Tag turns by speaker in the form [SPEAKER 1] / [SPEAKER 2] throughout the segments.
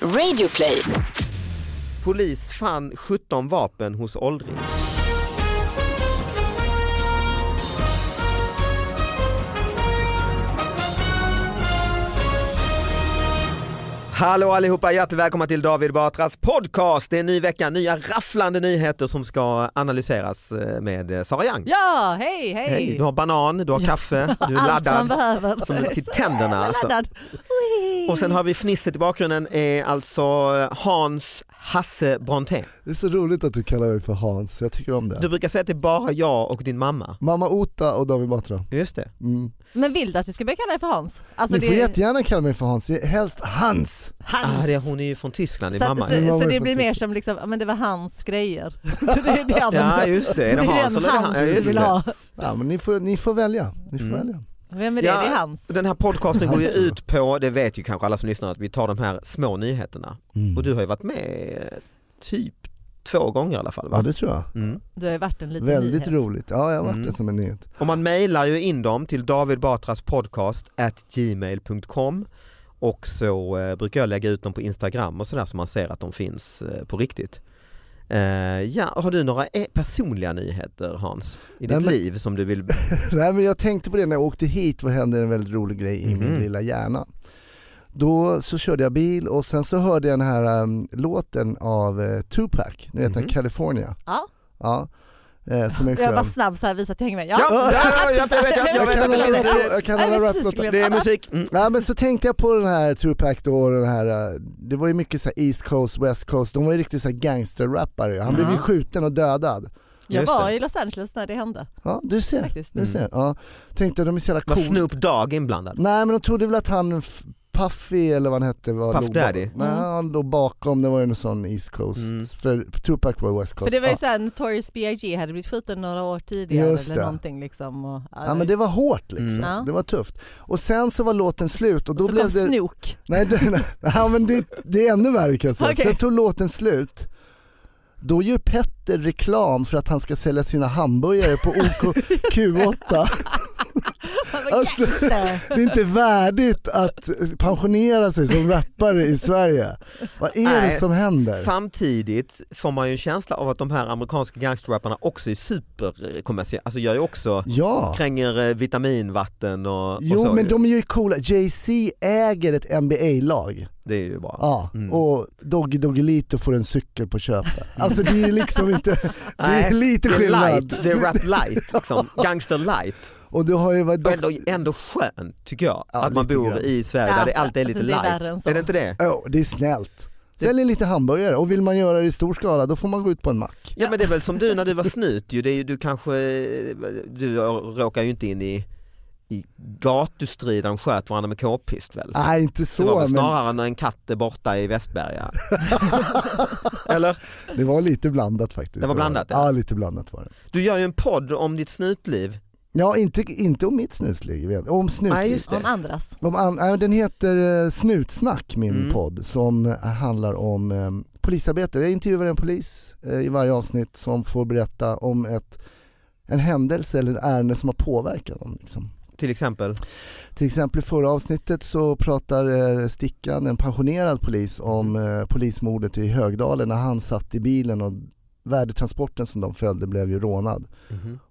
[SPEAKER 1] Radioplay.
[SPEAKER 2] Polis fann 17 vapen hos åldring. Hallå allihopa, hjärtligt välkomna till David Batras podcast. Det är en ny vecka, nya rafflande nyheter som ska analyseras eh, med Sara Young.
[SPEAKER 3] Ja, hej, hej.
[SPEAKER 2] Hej, du har banan, du har kaffe, du är
[SPEAKER 3] Allt man
[SPEAKER 2] laddad.
[SPEAKER 3] behöver.
[SPEAKER 2] Som till tänderna alltså.
[SPEAKER 3] Laddad. Ui.
[SPEAKER 2] Och sen har vi fnisset i bakgrunden, är alltså Hans Hasse Brontén.
[SPEAKER 4] Det är så roligt att du kallar mig för Hans, jag tycker om det.
[SPEAKER 2] Du brukar säga att det är bara jag och din mamma.
[SPEAKER 4] Mamma Ota och David Batra.
[SPEAKER 2] Just det.
[SPEAKER 4] Mm.
[SPEAKER 3] Men vill du att vi ska börja kalla dig för Hans? Alltså,
[SPEAKER 4] Ni får jättegärna kalla mig för Hans, helst Hans.
[SPEAKER 3] Hans.
[SPEAKER 2] Ah, det hon är ju från Tyskland, din
[SPEAKER 3] så,
[SPEAKER 2] mamma.
[SPEAKER 4] Min
[SPEAKER 3] så,
[SPEAKER 4] mamma
[SPEAKER 3] så
[SPEAKER 4] är
[SPEAKER 3] det
[SPEAKER 4] från
[SPEAKER 3] blir mer som liksom, ja, men det var hans grejer. Så det är det han-
[SPEAKER 2] Ja just det, är det Hans
[SPEAKER 3] den
[SPEAKER 2] eller är det
[SPEAKER 3] Hans
[SPEAKER 2] han? Ja, just
[SPEAKER 3] vill
[SPEAKER 2] det.
[SPEAKER 3] ha.
[SPEAKER 4] Ja, men ni, får, ni får välja. Ni får
[SPEAKER 2] Mm.
[SPEAKER 4] välja.
[SPEAKER 3] Vem är det?
[SPEAKER 2] Ja.
[SPEAKER 3] Det är Hans.
[SPEAKER 2] Den här podcasten går ju ut på, det vet ju kanske alla som lyssnar, att vi tar de här små nyheterna. Och du har ju varit med eh, typ två gånger i alla fall
[SPEAKER 4] Ja
[SPEAKER 2] va?
[SPEAKER 4] det tror jag.
[SPEAKER 2] Mm.
[SPEAKER 3] Du har ju varit en liten
[SPEAKER 4] Väldigt
[SPEAKER 3] nyhet.
[SPEAKER 4] roligt. Ja, jag har varit
[SPEAKER 2] Mm.
[SPEAKER 4] det som en nyhet.
[SPEAKER 2] Och man mejlar ju in dem till davidbatraspodcast@gmail.com och så eh, brukar jag lägga ut dem på Instagram och sådär så man ser att de finns eh, på riktigt. Eh, ja, har du några eh, personliga nyheter Hans? I ditt
[SPEAKER 4] Nej, men-
[SPEAKER 2] liv som du vill...
[SPEAKER 4] Nej, men jag tänkte på det när jag åkte hit, vad hände en väldigt rolig grej i
[SPEAKER 2] Mhm.
[SPEAKER 4] min lilla hjärna. Då så körde jag bil och sen så hörde jag den här um, låten av eh, Tupac, ni vet den
[SPEAKER 2] Mhm.
[SPEAKER 4] California.
[SPEAKER 3] Ja.
[SPEAKER 4] Ja, eh, som är skön.
[SPEAKER 3] Jag var snabb så här visar att jag hänger med. Ja.
[SPEAKER 2] Ja, ja, ja, ja, jag vet, jag- jag
[SPEAKER 4] Jag
[SPEAKER 2] vet
[SPEAKER 4] kan
[SPEAKER 2] att det
[SPEAKER 4] alla
[SPEAKER 2] finns...
[SPEAKER 4] rap-
[SPEAKER 2] eh,
[SPEAKER 4] jag kan
[SPEAKER 3] Ja,
[SPEAKER 4] alla
[SPEAKER 3] precis,
[SPEAKER 4] raplåtar.
[SPEAKER 3] skulle jag-
[SPEAKER 2] Det är musik. Mm.
[SPEAKER 4] Nej men så tänkte jag på den här Tupac då och den här, eh, det var ju mycket så här East Coast, West Coast, de var ju riktigt så här gangsterrappare Han blev ju
[SPEAKER 3] Ja.
[SPEAKER 4] skjuten och dödad.
[SPEAKER 3] Jag
[SPEAKER 2] Just
[SPEAKER 3] var
[SPEAKER 2] det.
[SPEAKER 3] i Los Angeles när det hände
[SPEAKER 4] Ja du ser,
[SPEAKER 3] faktiskt.
[SPEAKER 2] Mm.
[SPEAKER 4] du ser. Ja. Tänkte de är så jävla
[SPEAKER 2] Var
[SPEAKER 4] coola.
[SPEAKER 2] Snoop Dogg inblandad?
[SPEAKER 4] Nej men de trodde väl att han F- Puffy eller vad han hette var
[SPEAKER 2] Puff
[SPEAKER 4] låg
[SPEAKER 2] Daddy?
[SPEAKER 4] bakom. Nej
[SPEAKER 3] Mm.
[SPEAKER 4] han låg bakom, det var ju någon sån East Coast.
[SPEAKER 2] Mm.
[SPEAKER 4] För Tupac var West
[SPEAKER 3] För
[SPEAKER 4] Coast.
[SPEAKER 3] det var ju
[SPEAKER 4] ja.
[SPEAKER 3] såhär, Notorious B.I.G. hade blivit skjuten några år tidigare
[SPEAKER 4] Just
[SPEAKER 3] eller
[SPEAKER 4] det.
[SPEAKER 3] någonting liksom. Och,
[SPEAKER 4] ja men det var hårt liksom.
[SPEAKER 2] Mm.
[SPEAKER 3] Ja.
[SPEAKER 4] Det var tufft. Och sen så var låten slut och då
[SPEAKER 3] så
[SPEAKER 4] blev
[SPEAKER 3] kom
[SPEAKER 4] det...
[SPEAKER 3] Snook.
[SPEAKER 4] Nej, det, nej. Ja, men det, det är ännu värre kan jag säga.
[SPEAKER 3] Okej.
[SPEAKER 4] Sen tog låten slut. Då gör Petter reklam för att han ska sälja sina hamburgare på OKQ8. Alltså, det är inte värdigt att pensionera sig som rappare i Sverige. Vad är
[SPEAKER 2] Nej.
[SPEAKER 4] det som händer?
[SPEAKER 2] Samtidigt får man ju en känsla av att de här amerikanska gangsterrapparna också är superkommersiella, alltså gör ju också
[SPEAKER 4] Ja,
[SPEAKER 2] kränger eh, vitaminvatten och, och så.
[SPEAKER 4] jo men
[SPEAKER 2] ju.
[SPEAKER 4] de är ju coola. Jay-Z äger ett NBA-lag.
[SPEAKER 2] Det är ju bra.
[SPEAKER 4] Ja,
[SPEAKER 2] Mm.
[SPEAKER 4] och Doggy Doggelito får en cykel på köpet. Alltså det är liksom inte, det är
[SPEAKER 2] Nej,
[SPEAKER 4] lite
[SPEAKER 2] Det är
[SPEAKER 4] skillnad.
[SPEAKER 2] light, det är rap light, liksom. gangster light.
[SPEAKER 4] Och du har ju varit
[SPEAKER 2] Och ändå, ändå skönt tycker jag
[SPEAKER 4] Ja,
[SPEAKER 2] att man
[SPEAKER 4] lite
[SPEAKER 2] bor
[SPEAKER 4] grann.
[SPEAKER 2] i Sverige
[SPEAKER 3] Ja, alltså
[SPEAKER 2] där det alltid är lite
[SPEAKER 3] det är värre än
[SPEAKER 2] light.
[SPEAKER 3] så.
[SPEAKER 2] Är det inte det?
[SPEAKER 4] Ja, det är snällt. Säljer lite hamburgare och vill man göra det i stor skala då får man gå ut på en mack.
[SPEAKER 2] Ja men det är väl som du när du var snut ju, det är ju du kanske, du råkar ju inte in i, i gatustrid där de sköt varandra med k-pist väl?
[SPEAKER 4] Nej inte
[SPEAKER 2] det var
[SPEAKER 4] Ah, så
[SPEAKER 2] väl
[SPEAKER 4] men
[SPEAKER 2] snarare när en katt är borta i Västberga. Eller?
[SPEAKER 4] det var lite blandat faktiskt.
[SPEAKER 2] Det var blandat, ja.
[SPEAKER 4] Ja lite blandat var det.
[SPEAKER 2] Du gör ju en podd om ditt snutliv.
[SPEAKER 4] Ja inte, inte om mitt snusliv egentligen. om
[SPEAKER 2] Nej,
[SPEAKER 4] snutliv.
[SPEAKER 2] just
[SPEAKER 3] Om
[SPEAKER 2] det.
[SPEAKER 3] andras.
[SPEAKER 4] Om an, nej, den heter eh, Snutsnack min
[SPEAKER 2] Mm.
[SPEAKER 4] podd som eh, handlar om eh, polisarbete. Jag intervjuar en polis eh, i varje avsnitt som får berätta om ett, en händelse eller ett ärende som har påverkat dem. Liksom.
[SPEAKER 2] Till exempel.
[SPEAKER 4] Till exempel i förra avsnittet så pratar eh, Stickan, en pensionerad polis, om eh, polismordet i Högdalen när han satt i bilen och värdetransporten som de följde blev ju rånad.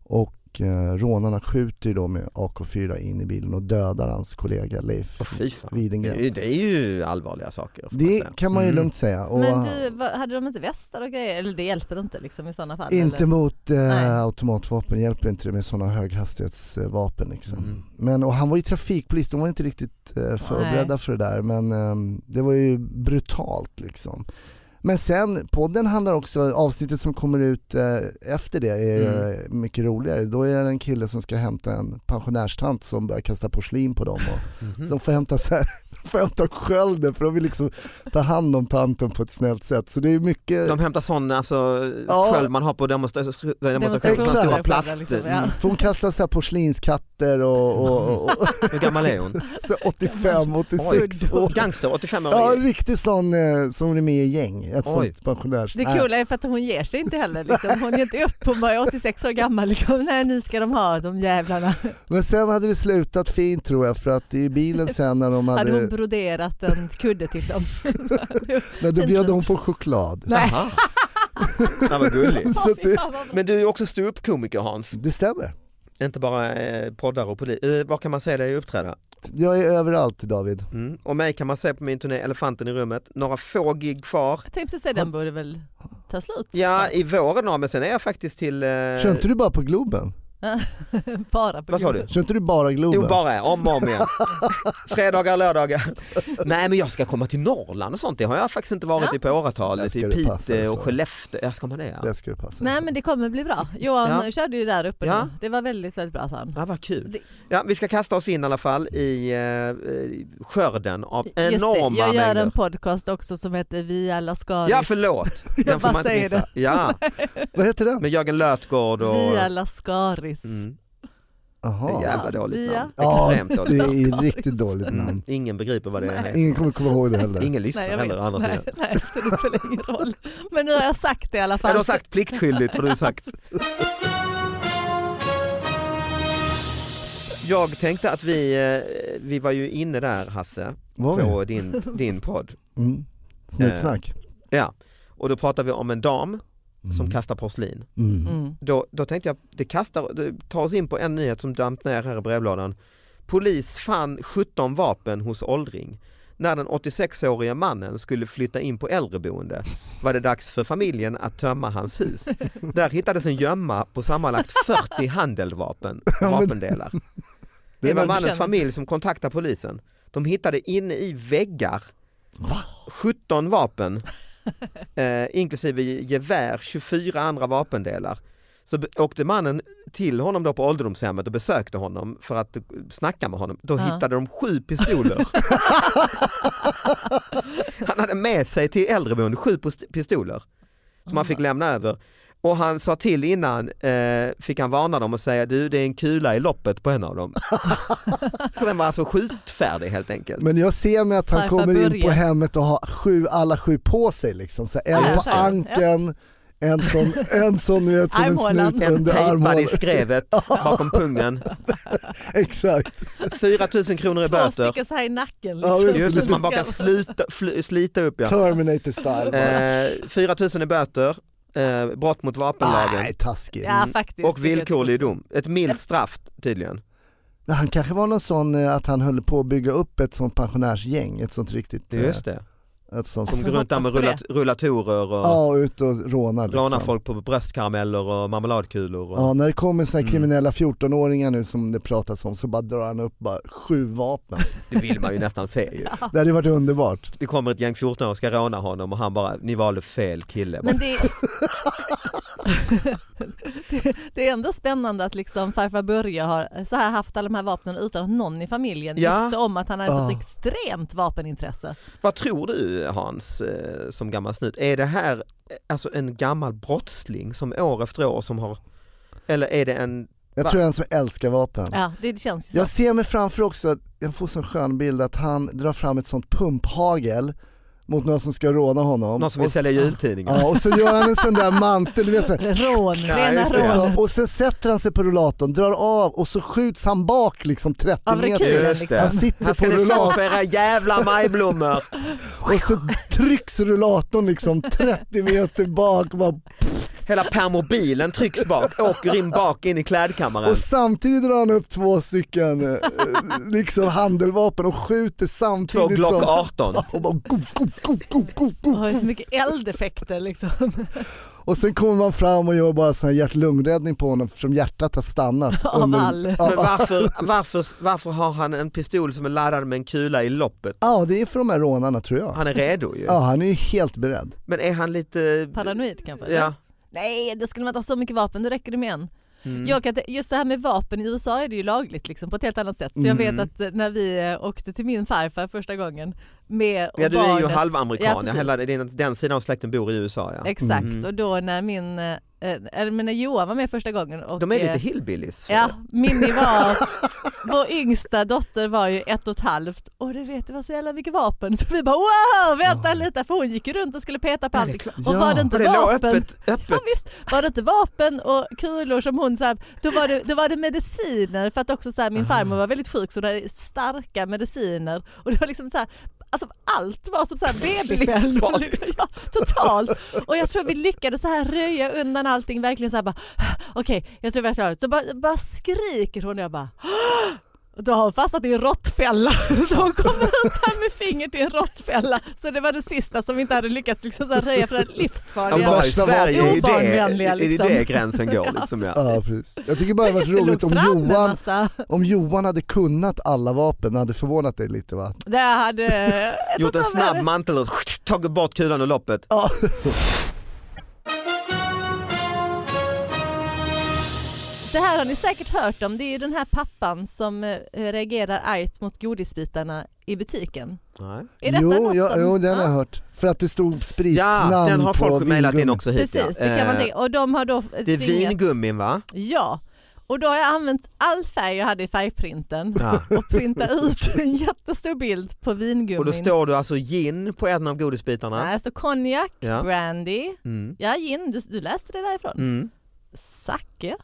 [SPEAKER 4] Och eh, rånarna skjuter ju då med AK4 in i bilen och dödar hans kollega Leif
[SPEAKER 2] Åh, fy fan. Det är
[SPEAKER 4] Widengren.
[SPEAKER 2] ju- Det är ju allvarliga saker. får man
[SPEAKER 4] Det
[SPEAKER 2] säga.
[SPEAKER 4] kan man ju
[SPEAKER 2] Mm.
[SPEAKER 4] lugnt säga. Och
[SPEAKER 3] Men du, vad- hade de inte västar och grejer? Eller det hjälper inte liksom i sådana fall?
[SPEAKER 4] inte
[SPEAKER 3] eller?
[SPEAKER 4] mot
[SPEAKER 3] Nej.
[SPEAKER 4] eh, automatvapen hjälper inte det med sådana höghastighetsvapen. Liksom.
[SPEAKER 2] Mm.
[SPEAKER 4] Men, och han var ju trafikpolis, de var inte riktigt eh, förberedda för det där men ehm, det var ju brutalt liksom. Men sen, podden handlar också, avsnittet som kommer ut eh, efter det är eh,
[SPEAKER 2] Mm.
[SPEAKER 4] mycket roligare. Då är det en kille som ska hämta en pensionärstant som börjar kasta porslin på dem och
[SPEAKER 2] Mhm.
[SPEAKER 4] som får hämta, så här, får hämta skölden för de vill liksom ta hand om tanten på ett snällt sätt. Så det är mycket
[SPEAKER 2] De hämtar sån alltså,
[SPEAKER 4] Eh, Ja.
[SPEAKER 2] sköld man har på demonstra- demonstrationer,
[SPEAKER 3] Demonstrationer,
[SPEAKER 2] sådana stora
[SPEAKER 3] exakt.
[SPEAKER 2] plast.
[SPEAKER 4] Mm,
[SPEAKER 3] Liksom, ja.
[SPEAKER 4] För hon kastar så här porslinskatt skatter och, och, och, och
[SPEAKER 2] Hur gammal är hon?
[SPEAKER 4] så 85, 86 år.
[SPEAKER 2] Gangster, 85 år.
[SPEAKER 4] Ja, en riktig sån eh, som är med i gäng, ett
[SPEAKER 2] Oj.
[SPEAKER 4] sånt pensionärs...
[SPEAKER 3] Det
[SPEAKER 4] Nej.
[SPEAKER 3] coola är för att hon ger sig inte heller. Liksom. Hon ger inte upp. Hon bara är 86 år gammal. Liksom. Nej, nu ska de ha de jävlarna.
[SPEAKER 4] Men sen hade det slutat fint tror jag för att i bilen sen när de
[SPEAKER 3] Hade hon
[SPEAKER 4] hade...
[SPEAKER 3] broderat en kudde till dem?
[SPEAKER 4] När då bjöd hon på choklad.
[SPEAKER 3] Nej.
[SPEAKER 2] Jaha. Nej, vad gulligt.
[SPEAKER 4] Så att det,
[SPEAKER 2] Men du är ju också ståuppkomiker Hans,
[SPEAKER 4] det stämmer.
[SPEAKER 2] inte bara eh, poddar och polis. Eh, var kan man se dig uppträda?
[SPEAKER 4] Jag är överallt David.
[SPEAKER 2] Mm. Och mig kan man se på min turné Elefanten i rummet. Några få gig kvar.
[SPEAKER 3] Jag tänkte säga den borde väl ta slut.
[SPEAKER 2] Ja, i våren då, men sen är jag faktiskt till... Eh,
[SPEAKER 4] Kör inte du bara på Globen?
[SPEAKER 3] Bara på
[SPEAKER 2] vad sa
[SPEAKER 3] grund-
[SPEAKER 2] du?
[SPEAKER 4] Kör inte du bara Globen?
[SPEAKER 2] Jo, bara om och om igen. Fredagar, lördagar. Nej, men jag ska komma till Norrland och sånt. Det har jag faktiskt inte varit
[SPEAKER 3] Ja.
[SPEAKER 2] i på åratal.
[SPEAKER 4] Där ska
[SPEAKER 2] I
[SPEAKER 4] du passa dig
[SPEAKER 2] Piteå och
[SPEAKER 4] för.
[SPEAKER 2] Skellefteå. Ja, ska man det? Ja,
[SPEAKER 4] Det ska du passa dig
[SPEAKER 3] Nej
[SPEAKER 4] för.
[SPEAKER 3] men det kommer bli bra. Johan
[SPEAKER 2] Ja.
[SPEAKER 3] körde ju där uppe
[SPEAKER 2] Ja.
[SPEAKER 3] nu. Det var väldigt, väldigt bra sa han.
[SPEAKER 2] ja vad kul.
[SPEAKER 3] Det-
[SPEAKER 2] Ja, vi ska kasta oss in i alla fall i eh, eh, skörden av
[SPEAKER 3] Just det,
[SPEAKER 2] enorma
[SPEAKER 3] Jag gör
[SPEAKER 2] mängder.
[SPEAKER 3] en podcast också som heter Vi alla Skaris.
[SPEAKER 2] Ja, förlåt. Den får
[SPEAKER 3] bara
[SPEAKER 2] man inte
[SPEAKER 3] säger
[SPEAKER 2] missa. Ja,
[SPEAKER 4] Vad heter den?
[SPEAKER 2] med Jörgen Lötgård och...
[SPEAKER 3] Vi alla Skaris.
[SPEAKER 2] Mm.
[SPEAKER 4] Jaha.
[SPEAKER 2] Jävla dåligt
[SPEAKER 3] Via.
[SPEAKER 2] namn.
[SPEAKER 4] Ja,
[SPEAKER 2] Extremt
[SPEAKER 4] det
[SPEAKER 2] dåligt namn.
[SPEAKER 4] är ett riktigt dåligt
[SPEAKER 2] Mm.
[SPEAKER 4] namn.
[SPEAKER 2] Ingen begriper vad det är.
[SPEAKER 4] Ingen kommer komma ihåg det heller.
[SPEAKER 2] Ingen lyssnar
[SPEAKER 3] Nej, jag
[SPEAKER 2] heller å andra
[SPEAKER 3] nej,
[SPEAKER 2] sidan.
[SPEAKER 3] nej, så det spelar ingen roll. Men nu har jag sagt det i alla
[SPEAKER 2] Ja,
[SPEAKER 3] fall.
[SPEAKER 2] du har sagt pliktskyldigt har du sagt. Jag tänkte att vi, eh, vi var ju inne där Hasse,
[SPEAKER 4] Var vi?
[SPEAKER 2] på din, din podd.
[SPEAKER 4] Mm. Snutsnack.
[SPEAKER 2] Ja. Och då pratade vi om en dam Eh, som
[SPEAKER 4] Mm.
[SPEAKER 2] kastar porslin.
[SPEAKER 4] Mm.
[SPEAKER 3] Mm.
[SPEAKER 2] Då, då tänkte jag, det kastar, det tar oss in på en nyhet som damp ner här i brevlådan. Polis fann 17 vapen hos åldring. När den 86-årige mannen skulle flytta in på äldreboende var det dags för familjen att tömma hans hus. Där hittades en gömma på sammanlagt 40 handeldvapen, vapendelar.
[SPEAKER 3] Det
[SPEAKER 2] Det var
[SPEAKER 3] var
[SPEAKER 2] mannens
[SPEAKER 3] bekänt.
[SPEAKER 2] familj som kontaktade polisen. De hittade inne i väggar 17 vapen, eh, inklusive gevär, 24 andra vapendelar. Så be- åkte mannen till honom då på ålderdomshemmet och besökte honom för att eh, snacka med honom. Då
[SPEAKER 3] Ja.
[SPEAKER 2] hittade de sju pistoler. han hade med sig till äldreboende sju post- pistoler som han fick lämna över. Och han sa till innan, eh, fick han varna dem och säga du det är en kula i loppet på en av dem. så den var alltså skjutfärdig helt enkelt.
[SPEAKER 4] Men jag ser mig att han
[SPEAKER 3] Farfar
[SPEAKER 4] kommer in
[SPEAKER 3] Börje.
[SPEAKER 4] på hemmet och har sju, alla sju på sig. Liksom. Så här,
[SPEAKER 3] Ja,
[SPEAKER 4] en
[SPEAKER 3] jag
[SPEAKER 4] på
[SPEAKER 3] ser.
[SPEAKER 4] ankeln, en sån, en sån du vet, som en
[SPEAKER 3] Armhålan.
[SPEAKER 4] snut
[SPEAKER 2] En
[SPEAKER 4] under
[SPEAKER 2] tejpad i
[SPEAKER 4] armhålan.
[SPEAKER 2] skrevet bakom pungen.
[SPEAKER 4] Exakt.
[SPEAKER 2] 4 000 kronor i
[SPEAKER 3] Två
[SPEAKER 2] böter.
[SPEAKER 3] stycken så här i nacken. liksom.
[SPEAKER 4] Ja, visst.
[SPEAKER 2] Just det, som man bara kan slita, fl- slita upp ja.
[SPEAKER 4] Terminator style. bara.
[SPEAKER 2] Eh, 4 000 i böter, eh, brott mot vapenlagen
[SPEAKER 3] Ah,
[SPEAKER 4] Nej, taskigt.
[SPEAKER 3] Ja, faktiskt.
[SPEAKER 2] och villkorlig dom. Ett milt straff tydligen.
[SPEAKER 4] Men Han kanske var någon sån eh, att han höll på att bygga upp ett sånt pensionärsgäng. Ett sånt riktigt... eh,
[SPEAKER 2] Just det.
[SPEAKER 4] Ett sånt,
[SPEAKER 2] Som går runt där med rullat- rullatorer och
[SPEAKER 4] ja, ut och råna. Liksom.
[SPEAKER 2] rånar folk på bröstkarameller och marmeladkulor. Och...
[SPEAKER 4] Ja, när det kommer såna här
[SPEAKER 2] Mm.
[SPEAKER 4] kriminella 14-åringar nu som det pratas om så bara drar han upp bara sju vapen.
[SPEAKER 2] Det vill man ju nästan se ju.
[SPEAKER 4] Det hade varit underbart.
[SPEAKER 2] Det kommer ett gäng 14 och ska råna honom och han bara, ni valde fel kille.
[SPEAKER 3] Men det, det, det är ändå spännande att liksom farfar Börje har så här haft alla de här vapnen utan att någon i familjen
[SPEAKER 2] Ja. Ah.
[SPEAKER 3] visste om att han hade
[SPEAKER 4] Ja.
[SPEAKER 3] ett extremt vapenintresse.
[SPEAKER 2] Vad tror du Hans, eh, som gammal snut, är det här eh, alltså en gammal brottsling som år efter år som har, eller är det en,
[SPEAKER 4] Jag
[SPEAKER 2] Va?
[SPEAKER 4] tror jag är en som älskar vapen.
[SPEAKER 3] Ja, det känns ju
[SPEAKER 4] Jag
[SPEAKER 3] så.
[SPEAKER 4] ser mig framför också, att jag får sån skön bild att han drar fram ett sånt pumphagel mot någon som ska råna honom.
[SPEAKER 2] någon som vill
[SPEAKER 4] och,
[SPEAKER 2] sälja jultidningar?
[SPEAKER 4] ja, och så gör han en sån där mantel, du vet så här,
[SPEAKER 3] Rån, rena
[SPEAKER 2] just det.
[SPEAKER 3] rån.
[SPEAKER 4] så, och sen sätter han sig på rullatorn, drar av och så skjuts han bak liksom 30
[SPEAKER 3] Av
[SPEAKER 4] meter.
[SPEAKER 3] rekylen
[SPEAKER 2] Just det.
[SPEAKER 4] Han
[SPEAKER 3] liksom.
[SPEAKER 4] sitter
[SPEAKER 2] Här ska
[SPEAKER 4] på
[SPEAKER 2] ni få för
[SPEAKER 4] rullatorn
[SPEAKER 2] era jävla majblommor!
[SPEAKER 4] och så trycks rullatorn liksom 30 meter bak. Bara,
[SPEAKER 2] Hela permobilen trycks bak, åker in bak in i klädkammaren.
[SPEAKER 4] och samtidigt drar han upp två stycken eh, liksom handelvapen och skjuter
[SPEAKER 2] Två
[SPEAKER 4] samtidigt.
[SPEAKER 2] Glock
[SPEAKER 4] som,
[SPEAKER 2] 18.
[SPEAKER 4] och, bara, go, go, go, go, go, go.
[SPEAKER 3] Och liksom. har ju så mycket eldeffekter liksom.
[SPEAKER 4] Och sen kommer man fram och gör bara sån här hjärt-lungräddning på honom eftersom hjärtat har stannat.
[SPEAKER 3] Av all-
[SPEAKER 4] Ja,
[SPEAKER 2] Men varför, varför, varför har han en pistol som är laddad med en kula i loppet?
[SPEAKER 4] ja, det är för de här rånarna tror jag.
[SPEAKER 2] Han är redo ju.
[SPEAKER 4] Ja, han är ju helt beredd.
[SPEAKER 2] Men är han lite...
[SPEAKER 3] Paranoid kanske?
[SPEAKER 2] Ja.
[SPEAKER 3] Nej, då skulle man inte ha så mycket vapen, då räcker det med en.
[SPEAKER 2] Mm.
[SPEAKER 3] Jag kan, inte- just det här med vapen, i USA är det ju lagligt liksom, på ett helt annat sätt. Så jag
[SPEAKER 2] Mm.
[SPEAKER 3] vet att eh, när vi eh, åkte till min farfar första gången med
[SPEAKER 2] Ja du är ju
[SPEAKER 3] barnet-
[SPEAKER 2] halvamerikan,
[SPEAKER 3] Ja,
[SPEAKER 2] ja,
[SPEAKER 3] precis.
[SPEAKER 2] hela den, den sidan av släkten bor i USA ja.
[SPEAKER 3] Exakt,
[SPEAKER 2] Mm.
[SPEAKER 3] och då när min eh, eh, eller men när Johan var med första gången och
[SPEAKER 2] De är lite
[SPEAKER 3] eh,
[SPEAKER 2] hillbillies.
[SPEAKER 3] Ja, Minni var, vår yngsta dotter var ju ett och ett halvt och du vet det var så jävla mycket vapen så vi bara wow vänta lite för hon gick ju runt och skulle peta på allting och
[SPEAKER 4] Ja,
[SPEAKER 3] var det
[SPEAKER 2] Och
[SPEAKER 3] inte
[SPEAKER 2] liksom- det låg
[SPEAKER 3] vapen
[SPEAKER 2] öppet, öppet.
[SPEAKER 3] Ja, visst, var det inte vapen och kulor som hon, så här, då, var det, då var det mediciner för att också så här, min farmor var väldigt sjuk så hon hade starka mediciner och det var liksom så här, alltså allt var som så här babyfällor.
[SPEAKER 2] Livsfarligt.
[SPEAKER 3] liksom. ja, totalt. Och jag tror vi lyckades så här röja undan allting verkligen så här bara okej jag tror vi har klarat det. Så bara, bara skriker hon och jag bara "Åh!" Och då har hon fastnat i en råttfälla. Så hon kommer ut här med fingret i en råttfälla. Så det var det sista som vi inte hade lyckats liksom så här röja för det här
[SPEAKER 2] Ja,
[SPEAKER 3] livsfarliga.
[SPEAKER 2] bara i
[SPEAKER 4] Värsta
[SPEAKER 2] Sverige är ju
[SPEAKER 3] Ovanvänliga,
[SPEAKER 2] det, liksom.
[SPEAKER 3] liksom.
[SPEAKER 2] det gränsen går. Liksom, ja.
[SPEAKER 4] Ja, precis. Jag tycker bara det varit roligt om
[SPEAKER 3] Det låg fram alltså. en
[SPEAKER 4] Johan,
[SPEAKER 3] massa.
[SPEAKER 4] om Johan hade kunnat alla vapen, hade förvånat dig lite va?
[SPEAKER 3] Det hade... jag
[SPEAKER 2] Gjort
[SPEAKER 3] tror
[SPEAKER 2] en
[SPEAKER 3] att de
[SPEAKER 2] snabb
[SPEAKER 3] hade-
[SPEAKER 2] mantel och tagit bort kulan ur loppet.
[SPEAKER 3] Det här har ni säkert hört om. Det är ju den här pappan som eh, reagerar argt mot godisbitarna i butiken.
[SPEAKER 2] Nej.
[SPEAKER 3] Är detta
[SPEAKER 4] jo,
[SPEAKER 3] något
[SPEAKER 4] ja,
[SPEAKER 3] som...
[SPEAKER 4] jo, den har
[SPEAKER 3] Ja,
[SPEAKER 4] jag hört. För att det stod spritnamn
[SPEAKER 2] Ja, den har
[SPEAKER 4] på
[SPEAKER 2] folk mejlat in
[SPEAKER 4] vingummin.
[SPEAKER 2] också hit.
[SPEAKER 3] Precis,
[SPEAKER 2] ja.
[SPEAKER 3] det kan man
[SPEAKER 2] Eh,
[SPEAKER 3] tänka. Och de har då
[SPEAKER 2] det är
[SPEAKER 3] tvingat...
[SPEAKER 2] vingummin va?
[SPEAKER 3] Ja, och då har jag använt all färg jag hade i färgprinten
[SPEAKER 2] Ja.
[SPEAKER 3] och printat ut en jättestor bild på vingummin.
[SPEAKER 2] Och då står du alltså gin på en av godisbitarna.
[SPEAKER 3] Nej, det står konjak,
[SPEAKER 2] Ja.
[SPEAKER 3] brandy,
[SPEAKER 2] Mm.
[SPEAKER 3] ja gin, du, du läste det därifrån.
[SPEAKER 2] Mm.
[SPEAKER 3] Sake.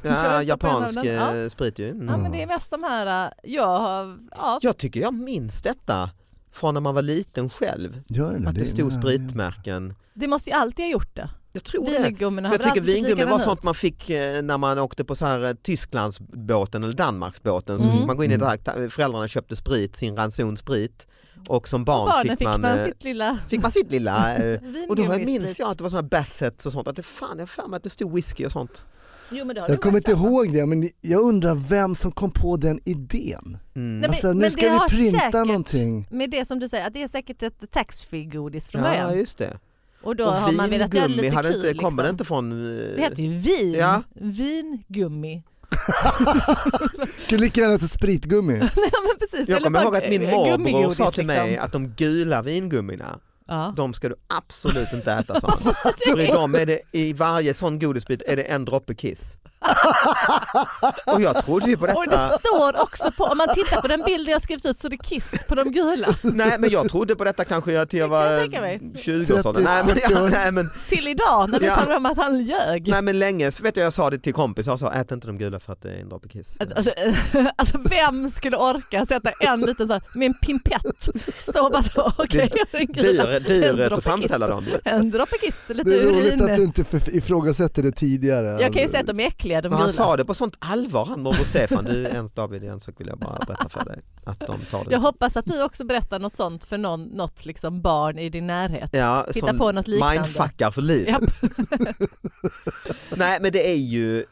[SPEAKER 3] Ska
[SPEAKER 2] Ja,
[SPEAKER 3] jag stoppa in
[SPEAKER 2] japansk
[SPEAKER 3] den? Ja.
[SPEAKER 2] eh, sprit ju. Mm.
[SPEAKER 3] Ja men det är mest de här, äh, jag har, ja.
[SPEAKER 2] Jag tycker jag minns detta från när man var liten själv.
[SPEAKER 4] Gör den
[SPEAKER 2] Att det
[SPEAKER 4] är-
[SPEAKER 2] stod spritmärken.
[SPEAKER 3] Det måste ju alltid ha gjort det.
[SPEAKER 2] Jag tror det.
[SPEAKER 3] Vingummina
[SPEAKER 2] För jag
[SPEAKER 3] har väl
[SPEAKER 2] tycker
[SPEAKER 3] alltid sett
[SPEAKER 2] vingummi var
[SPEAKER 3] likadana
[SPEAKER 2] sånt
[SPEAKER 3] ut.
[SPEAKER 2] man fick eh, när man åkte på så här eh, Tysklandsbåten eller Danmarksbåten så
[SPEAKER 3] Mm.
[SPEAKER 2] fick man gå in i det här, ta- föräldrarna köpte sprit, sin ranson sprit och som barn
[SPEAKER 3] Barnen
[SPEAKER 2] fick, man, eh,
[SPEAKER 3] sitt lilla
[SPEAKER 2] fick man sitt lilla eh, och då har jag- minns
[SPEAKER 3] vingummisprit.
[SPEAKER 2] jag att det var såna här bassets och sånt, att det fan jag har för mig att det stod whisky och sånt.
[SPEAKER 3] Jo, men det har
[SPEAKER 4] Jag
[SPEAKER 3] du
[SPEAKER 4] kommer
[SPEAKER 3] väl
[SPEAKER 4] inte
[SPEAKER 3] sagt.
[SPEAKER 4] ihåg det men jag undrar vem som kom på den idén.
[SPEAKER 2] Mm.
[SPEAKER 3] Nej, men-
[SPEAKER 4] Alltså nu ska
[SPEAKER 3] det har
[SPEAKER 4] vi printa
[SPEAKER 3] säkert-
[SPEAKER 4] någonting.
[SPEAKER 3] Med det som du säger, att det är säkert ett taxfree-godis från
[SPEAKER 2] ja
[SPEAKER 3] början.
[SPEAKER 2] just det.
[SPEAKER 3] Och då
[SPEAKER 2] och
[SPEAKER 3] har man velat göra det lite
[SPEAKER 2] hade
[SPEAKER 3] kul.
[SPEAKER 2] inte, kommer det
[SPEAKER 3] liksom.
[SPEAKER 2] inte från... eh,
[SPEAKER 3] Det heter ju vin.
[SPEAKER 2] Ja.
[SPEAKER 3] Vingummi.
[SPEAKER 4] Skulle lika gärna heta spritgummi.
[SPEAKER 3] Nej, men
[SPEAKER 2] jag
[SPEAKER 3] precis. Eller
[SPEAKER 2] kommer
[SPEAKER 3] bara
[SPEAKER 2] ihåg att min
[SPEAKER 3] gu-
[SPEAKER 2] morbror
[SPEAKER 3] gummigodis,
[SPEAKER 2] sa till mig
[SPEAKER 3] liksom.
[SPEAKER 2] att de gula vingummina,
[SPEAKER 3] Ja.
[SPEAKER 2] de ska du absolut inte äta sa han. För i dem är det, i varje sån godisbit är det en droppe kiss. Och jag trodde ju på
[SPEAKER 3] Och det
[SPEAKER 2] detta.
[SPEAKER 3] står också på, om man tittar på den bilden jag skrivit ut så är det kiss på de gula.
[SPEAKER 2] Nej men jag trodde på detta kanske jag till jag
[SPEAKER 3] kan jag
[SPEAKER 2] var
[SPEAKER 3] tänka mig.
[SPEAKER 2] 20 och sådär. Nej men, ja, nej, men,
[SPEAKER 3] Till idag när vi
[SPEAKER 2] Ja.
[SPEAKER 3] talar om att han ljög.
[SPEAKER 2] nej men länge så vet jag jag sa det till kompisar och sa ät inte de gula för att det är en droppe kiss.
[SPEAKER 3] Alltså, alltså, alltså vem skulle orka sätta en liten så här, med en pimpett, stå och bara så, okej, en gula,
[SPEAKER 2] Dyr,
[SPEAKER 3] en
[SPEAKER 2] dyrhet
[SPEAKER 3] droppe
[SPEAKER 2] att framställa
[SPEAKER 3] kiss.
[SPEAKER 2] dem ju.
[SPEAKER 3] en droppe kiss, lite
[SPEAKER 4] Det är roligt att du
[SPEAKER 3] urin.
[SPEAKER 4] inte förf- ifrågasätter det tidigare.
[SPEAKER 3] Jag kan ju säga att de är äckliga de
[SPEAKER 2] Men han
[SPEAKER 3] gula.
[SPEAKER 2] sa det på sånt allvar han morbror Stefan. Du en, David en sak vill jag bara berätta för dig. Att de tar
[SPEAKER 3] Jag
[SPEAKER 2] det.
[SPEAKER 3] hoppas att du också berättar något sånt för någon, något liksom barn i din närhet.
[SPEAKER 2] Ja,
[SPEAKER 3] Hitta
[SPEAKER 2] sån
[SPEAKER 3] på något liknande.
[SPEAKER 2] Mindfuckar för livet.
[SPEAKER 3] Japp.
[SPEAKER 2] Nej men det är ju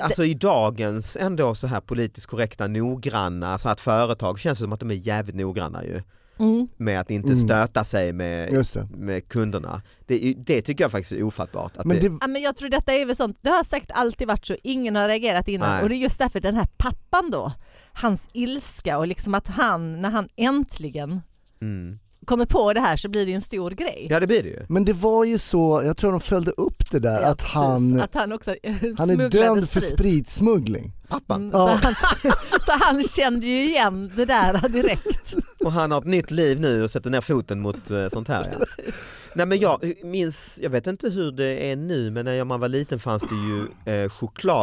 [SPEAKER 2] Alltså i dagens ändå så här politiskt korrekta noggranna, så att företag känns det som att de är jävligt noggranna ju
[SPEAKER 3] Mm.
[SPEAKER 2] med att inte
[SPEAKER 4] Mm.
[SPEAKER 2] stöta sig med,
[SPEAKER 4] Just det.
[SPEAKER 2] med kunderna. Det, är ju- det tycker jag faktiskt är ofattbart. Att
[SPEAKER 4] Men
[SPEAKER 2] det,
[SPEAKER 4] det,
[SPEAKER 3] Ja, men jag tror detta är väl sånt, det har säkert alltid varit så, ingen har reagerat innan
[SPEAKER 2] Nej.
[SPEAKER 3] och det är just därför den här pappan då, hans ilska och liksom att han, när han äntligen
[SPEAKER 2] mm.
[SPEAKER 3] kommer på det här så blir det ju en stor grej.
[SPEAKER 2] Ja det blir det ju.
[SPEAKER 4] men det var ju så, jag tror de följde upp det där
[SPEAKER 3] Ja,
[SPEAKER 4] att han,
[SPEAKER 3] precis. att han, också eh,
[SPEAKER 4] han är
[SPEAKER 3] smugglade
[SPEAKER 4] dömd för
[SPEAKER 3] sprit.
[SPEAKER 4] spritsmuggling.
[SPEAKER 2] Pappan.
[SPEAKER 3] Mm, så, han, så han kände ju igen det där direkt.
[SPEAKER 2] Och han har ett nytt liv nu och sätter ner foten mot eh, sånt här. Ja. Nej, men jag minns, jag vet inte hur det är nu men när man var liten fanns det ju eh,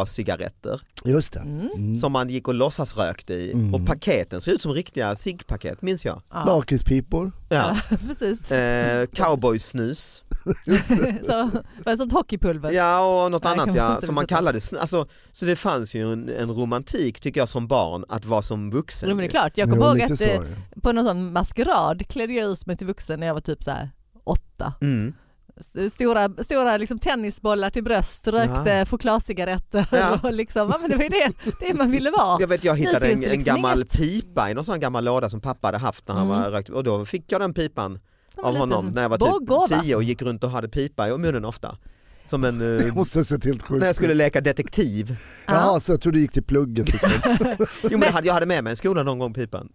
[SPEAKER 2] chokladcigaretter
[SPEAKER 4] Just det.
[SPEAKER 3] Mm.
[SPEAKER 4] Mm.
[SPEAKER 2] som man gick och låtsas rökte i
[SPEAKER 4] Mm.
[SPEAKER 2] och paketen såg ut som riktiga ciggpaket minns jag.
[SPEAKER 3] Ja,
[SPEAKER 4] Lakritspipor.
[SPEAKER 2] Ja.
[SPEAKER 3] precis.
[SPEAKER 2] Eh, cowboysnus
[SPEAKER 3] Så, var det sånt hockeypulver?
[SPEAKER 2] ja, och något
[SPEAKER 3] Nej,
[SPEAKER 2] annat
[SPEAKER 3] kommer
[SPEAKER 2] ja,
[SPEAKER 3] inte
[SPEAKER 2] som man
[SPEAKER 3] riktigt ihåg.
[SPEAKER 2] kallade snus. Alltså, så det fanns ju en, en romantik tycker jag som barn att vara som
[SPEAKER 3] Jo,
[SPEAKER 2] vuxen.
[SPEAKER 3] men det är
[SPEAKER 2] ju.
[SPEAKER 3] klart. Jag
[SPEAKER 4] Jo,
[SPEAKER 3] kommer ihåg
[SPEAKER 4] lite
[SPEAKER 3] att
[SPEAKER 4] så
[SPEAKER 3] eh,
[SPEAKER 4] är det.
[SPEAKER 3] på någon sån maskerad klädde jag ut mig till vuxen när jag var typ så här åtta.
[SPEAKER 2] Mm.
[SPEAKER 3] S- Stora, stora liksom tennisbollar till bröst, rökte
[SPEAKER 2] Ja.
[SPEAKER 3] chokladcigaretter
[SPEAKER 2] Ja.
[SPEAKER 3] och liksom, ja, men det var ju det, det man ville vara.
[SPEAKER 2] Jag vet jag hittade
[SPEAKER 3] finns
[SPEAKER 2] en,
[SPEAKER 3] det
[SPEAKER 2] en
[SPEAKER 3] liksom
[SPEAKER 2] gammal
[SPEAKER 3] inget.
[SPEAKER 2] pipa i någon sån gammal låda som pappa hade haft när han
[SPEAKER 3] Mm.
[SPEAKER 2] var rökt och då fick jag den pipan
[SPEAKER 3] Som en
[SPEAKER 2] av
[SPEAKER 3] liten
[SPEAKER 2] honom när jag var
[SPEAKER 3] båggåva.
[SPEAKER 2] typ tio och gick runt och hade pipa i munnen ofta. Som en, eh,
[SPEAKER 4] Det måste ha sett helt sjukt
[SPEAKER 2] när jag skulle leka detektiv.
[SPEAKER 3] Ja.
[SPEAKER 4] Jaha, så jag tror du gick till plugget. och sånt.
[SPEAKER 2] Jo, men jag, hade, jag hade med mig en skola någon gång pipan.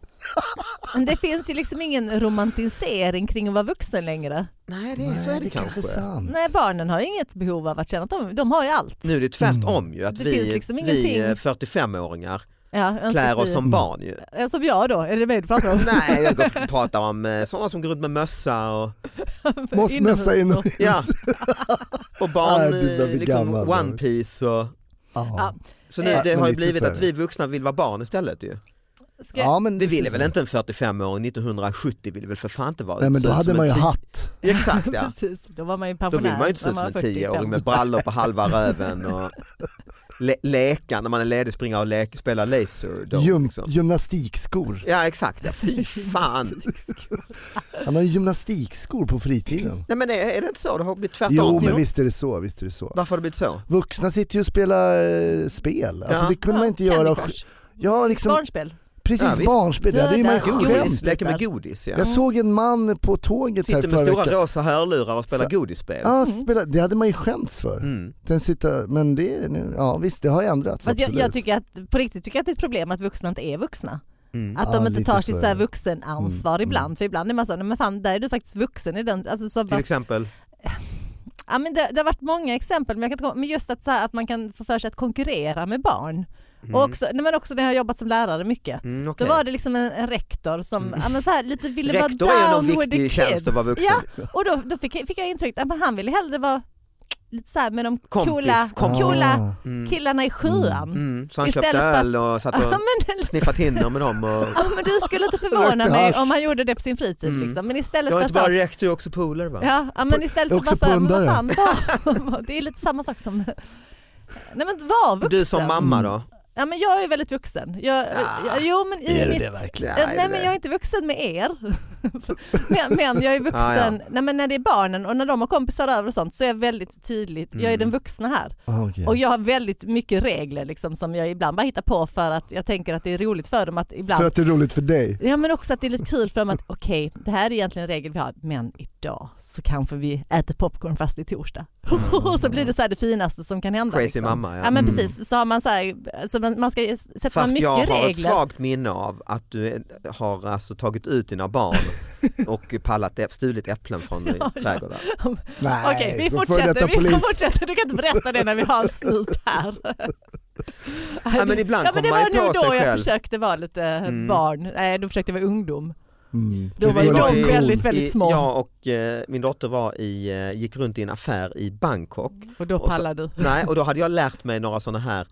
[SPEAKER 3] Men det finns ju liksom ingen romantisering kring att vara vuxen längre.
[SPEAKER 2] Nej, det, är- så är det, kanske.
[SPEAKER 4] sant.
[SPEAKER 3] Nej, barnen har inget behov av att känna att de, de har ju allt.
[SPEAKER 2] Nu är det tvärtom
[SPEAKER 4] Mm.
[SPEAKER 2] ju, att
[SPEAKER 3] Det
[SPEAKER 2] vi,
[SPEAKER 3] finns liksom
[SPEAKER 2] vi
[SPEAKER 3] ingenting.
[SPEAKER 2] eh, 45-åringar
[SPEAKER 4] Alltså,
[SPEAKER 3] Ja, önskar
[SPEAKER 2] klär
[SPEAKER 3] att vi-
[SPEAKER 2] oss
[SPEAKER 4] typ-
[SPEAKER 2] som barn ju.
[SPEAKER 3] Ja, Som jag då, är det mig du pratar om?
[SPEAKER 2] Nej, jag går och pratar om eh, sådana som går runt med mössa och,
[SPEAKER 4] Måste mössa
[SPEAKER 3] Inomhus då.
[SPEAKER 4] inomhus.
[SPEAKER 2] ja, och barn,
[SPEAKER 4] Nej, du börjar bli
[SPEAKER 2] eh, liksom
[SPEAKER 4] gammal.
[SPEAKER 2] one piece och
[SPEAKER 4] Ja.
[SPEAKER 3] Ja.
[SPEAKER 2] så nu,
[SPEAKER 3] Eh,
[SPEAKER 2] det
[SPEAKER 4] men
[SPEAKER 2] har ju
[SPEAKER 4] lite
[SPEAKER 2] blivit
[SPEAKER 4] så är
[SPEAKER 2] att
[SPEAKER 4] det.
[SPEAKER 2] vi vuxna vill vara barn istället ju.
[SPEAKER 3] Ska,
[SPEAKER 4] ja men
[SPEAKER 2] Det ville väl inte en 45-åring 1970 ville väl för fan inte vara
[SPEAKER 4] Nej men
[SPEAKER 2] se
[SPEAKER 4] då
[SPEAKER 2] ut
[SPEAKER 4] hade
[SPEAKER 2] som
[SPEAKER 4] man ju
[SPEAKER 2] en ti-
[SPEAKER 4] hatt.
[SPEAKER 2] Exakt ja.
[SPEAKER 3] Precis, då var man ju
[SPEAKER 2] Då
[SPEAKER 3] pensionär.
[SPEAKER 2] vill man ju inte se
[SPEAKER 3] när
[SPEAKER 2] ut som en
[SPEAKER 3] var 45.
[SPEAKER 2] 10-åring med brallor på halva röven och le- leka när man är ledig springa och le- spela laser. Då,
[SPEAKER 4] Gym,
[SPEAKER 2] liksom.
[SPEAKER 4] gymnastikskor.
[SPEAKER 2] Ja exakt, ja. fy fan.
[SPEAKER 4] Han har ju gymnastikskor på fritiden.
[SPEAKER 2] Nej men är, är det inte så? Det har blivit tvärtom.
[SPEAKER 4] Jo
[SPEAKER 2] ju.
[SPEAKER 4] men visst är det så, visst är det så.
[SPEAKER 2] Varför har det blivit så?
[SPEAKER 4] Vuxna sitter ju och spelar eh, spel. Alltså
[SPEAKER 2] Ja.
[SPEAKER 4] det kunde man inte göra.
[SPEAKER 3] Candy Crush.
[SPEAKER 4] Ja, liksom,
[SPEAKER 3] Barnspel.
[SPEAKER 4] precis
[SPEAKER 2] Ja, visst.
[SPEAKER 4] barnspel. Ja, det är man ju
[SPEAKER 3] Döda
[SPEAKER 4] skämt.
[SPEAKER 2] Godis,
[SPEAKER 3] skämtar.
[SPEAKER 2] leka med godis ja.
[SPEAKER 4] Jag såg en man på tåget här
[SPEAKER 2] Sitter med
[SPEAKER 4] förra
[SPEAKER 2] stora
[SPEAKER 4] veckan.
[SPEAKER 2] rosa hörlurar och spelar
[SPEAKER 4] Så-
[SPEAKER 2] godisspel.
[SPEAKER 4] Ja, spela, det hade man ju skämts för.
[SPEAKER 2] Mm.
[SPEAKER 4] Den sitter, men det är det nu. Ja visst, det har ju ändrats.
[SPEAKER 3] Fast jag,
[SPEAKER 4] absolut.
[SPEAKER 3] jag tycker att, på riktigt tycker jag att det är ett problem att vuxna inte är vuxna.
[SPEAKER 2] Mm.
[SPEAKER 3] Att de
[SPEAKER 4] Ja,
[SPEAKER 3] inte
[SPEAKER 4] lite
[SPEAKER 3] tar
[SPEAKER 4] så
[SPEAKER 3] sitt
[SPEAKER 4] är
[SPEAKER 3] så här
[SPEAKER 4] det.
[SPEAKER 3] vuxenansvar
[SPEAKER 4] Mm,
[SPEAKER 3] ibland. För ibland är man så här, nej men fan där är du faktiskt vuxen i den. Alltså, så
[SPEAKER 2] Till
[SPEAKER 3] bara,
[SPEAKER 2] exempel,
[SPEAKER 3] ja, men det, det har varit många exempel men, jag kan inte komma, men just att, så här, att man kan få för sig att konkurrera med barn.
[SPEAKER 4] Mm.
[SPEAKER 3] Och också, nej, men också när jag har jobbat som lärare mycket.
[SPEAKER 2] mm,
[SPEAKER 3] Då
[SPEAKER 2] okej. Mm.
[SPEAKER 3] var det liksom en, en rektor som ja, men så här, lite ville
[SPEAKER 2] rektor
[SPEAKER 3] vara
[SPEAKER 2] är någon
[SPEAKER 3] down with the
[SPEAKER 2] viktig
[SPEAKER 3] kids.
[SPEAKER 2] tjänst att vara vuxen.
[SPEAKER 3] Ja, och då, då fick, fick jag intrycket att men han ville hellre vara lite så här med de
[SPEAKER 2] Kompis,
[SPEAKER 3] coola,
[SPEAKER 2] kompis.
[SPEAKER 3] coola
[SPEAKER 4] Ah,
[SPEAKER 2] Mm.
[SPEAKER 3] killarna i sjuan.
[SPEAKER 2] Mm. Så han
[SPEAKER 3] Istället
[SPEAKER 2] köpte
[SPEAKER 3] för att-
[SPEAKER 2] öl och satt
[SPEAKER 3] Ja,
[SPEAKER 2] och
[SPEAKER 3] men,
[SPEAKER 2] sniffade Tinder med dem. Och...
[SPEAKER 3] ja, men du skulle inte förvåna
[SPEAKER 4] Rökte
[SPEAKER 3] mig
[SPEAKER 4] hasch.
[SPEAKER 3] om han gjorde det på sin fritid.
[SPEAKER 2] Mm.
[SPEAKER 3] Liksom. Men
[SPEAKER 2] Jag
[SPEAKER 3] istället
[SPEAKER 2] är
[SPEAKER 3] för
[SPEAKER 2] inte
[SPEAKER 3] så
[SPEAKER 2] bara
[SPEAKER 3] här,
[SPEAKER 2] rektor, jag är också polare va?
[SPEAKER 3] ja, ja, men istället
[SPEAKER 4] Jag
[SPEAKER 3] för
[SPEAKER 4] är
[SPEAKER 3] bara
[SPEAKER 4] också
[SPEAKER 3] så här, men vad
[SPEAKER 4] pundare.
[SPEAKER 3] fan, var, det är lite samma sak som Nej men var vuxen. Mm.
[SPEAKER 2] Du som mamma då?
[SPEAKER 3] Ja, men jag är väldigt vuxen. Jag,
[SPEAKER 2] Ja.
[SPEAKER 3] jo, men i
[SPEAKER 4] Är du
[SPEAKER 3] mitt,
[SPEAKER 4] det verkligen?
[SPEAKER 3] Ja,
[SPEAKER 2] Nej,
[SPEAKER 3] Eh, nej
[SPEAKER 2] det-
[SPEAKER 3] men jag är inte vuxen med er. men, men jag är vuxen,
[SPEAKER 2] Ja, ja.
[SPEAKER 3] Nej, men när det är barnen och när de har kompisar över och sånt så är jag väldigt tydligt, jag är
[SPEAKER 2] Mm.
[SPEAKER 3] den vuxna här.
[SPEAKER 4] Ah, okej.
[SPEAKER 3] Och jag har väldigt mycket regler liksom, som jag ibland bara hittar på för att jag tänker att det är roligt för dem att ibland
[SPEAKER 4] För att det är roligt för dig.
[SPEAKER 3] Ja men också att det är lite kul för dem att okej det här är egentligen en regel vi har men idag så kanske vi äter popcorn fast det är torsdag. Och så blir det så här det finaste som kan hända.
[SPEAKER 2] Crazy
[SPEAKER 3] liksom.
[SPEAKER 2] mamma, ja.
[SPEAKER 3] ja. men
[SPEAKER 4] Mm.
[SPEAKER 3] precis så har man så här, så man, man ska sätta
[SPEAKER 2] Fast jag
[SPEAKER 3] mycket
[SPEAKER 2] har ett
[SPEAKER 3] regler.
[SPEAKER 2] svagt minne av att du är- har alltså tagit ut dina barn och pallat, ä- stulit äpplen från
[SPEAKER 3] Ja, ja.
[SPEAKER 2] trädgårdar.
[SPEAKER 4] Nej,
[SPEAKER 3] Okej, vi
[SPEAKER 4] som före
[SPEAKER 3] fortsätter.
[SPEAKER 4] detta
[SPEAKER 3] Vi kan
[SPEAKER 4] polis.
[SPEAKER 3] fortsätta. Du kan inte berätta det när vi har slut här.
[SPEAKER 2] Ja, men ibland
[SPEAKER 3] ja, men
[SPEAKER 2] kommer
[SPEAKER 3] det
[SPEAKER 2] man
[SPEAKER 3] var
[SPEAKER 2] ju
[SPEAKER 3] nog
[SPEAKER 2] på sig
[SPEAKER 3] då jag
[SPEAKER 2] själv.
[SPEAKER 3] försökte vara lite
[SPEAKER 2] Mm.
[SPEAKER 3] barn. Nej, då försökte jag vara ungdom.
[SPEAKER 4] Mm.
[SPEAKER 3] Då
[SPEAKER 4] Det
[SPEAKER 3] var ju
[SPEAKER 2] var
[SPEAKER 3] de
[SPEAKER 2] ju-
[SPEAKER 3] väldigt, väldigt
[SPEAKER 2] I-
[SPEAKER 3] små.
[SPEAKER 2] Jag och eh, min dotter var i, eh, gick runt i en affär i Bangkok
[SPEAKER 3] Och då
[SPEAKER 2] och så-
[SPEAKER 3] pallade du.
[SPEAKER 2] Nej, och då hade jag lärt mig några sådana här eh,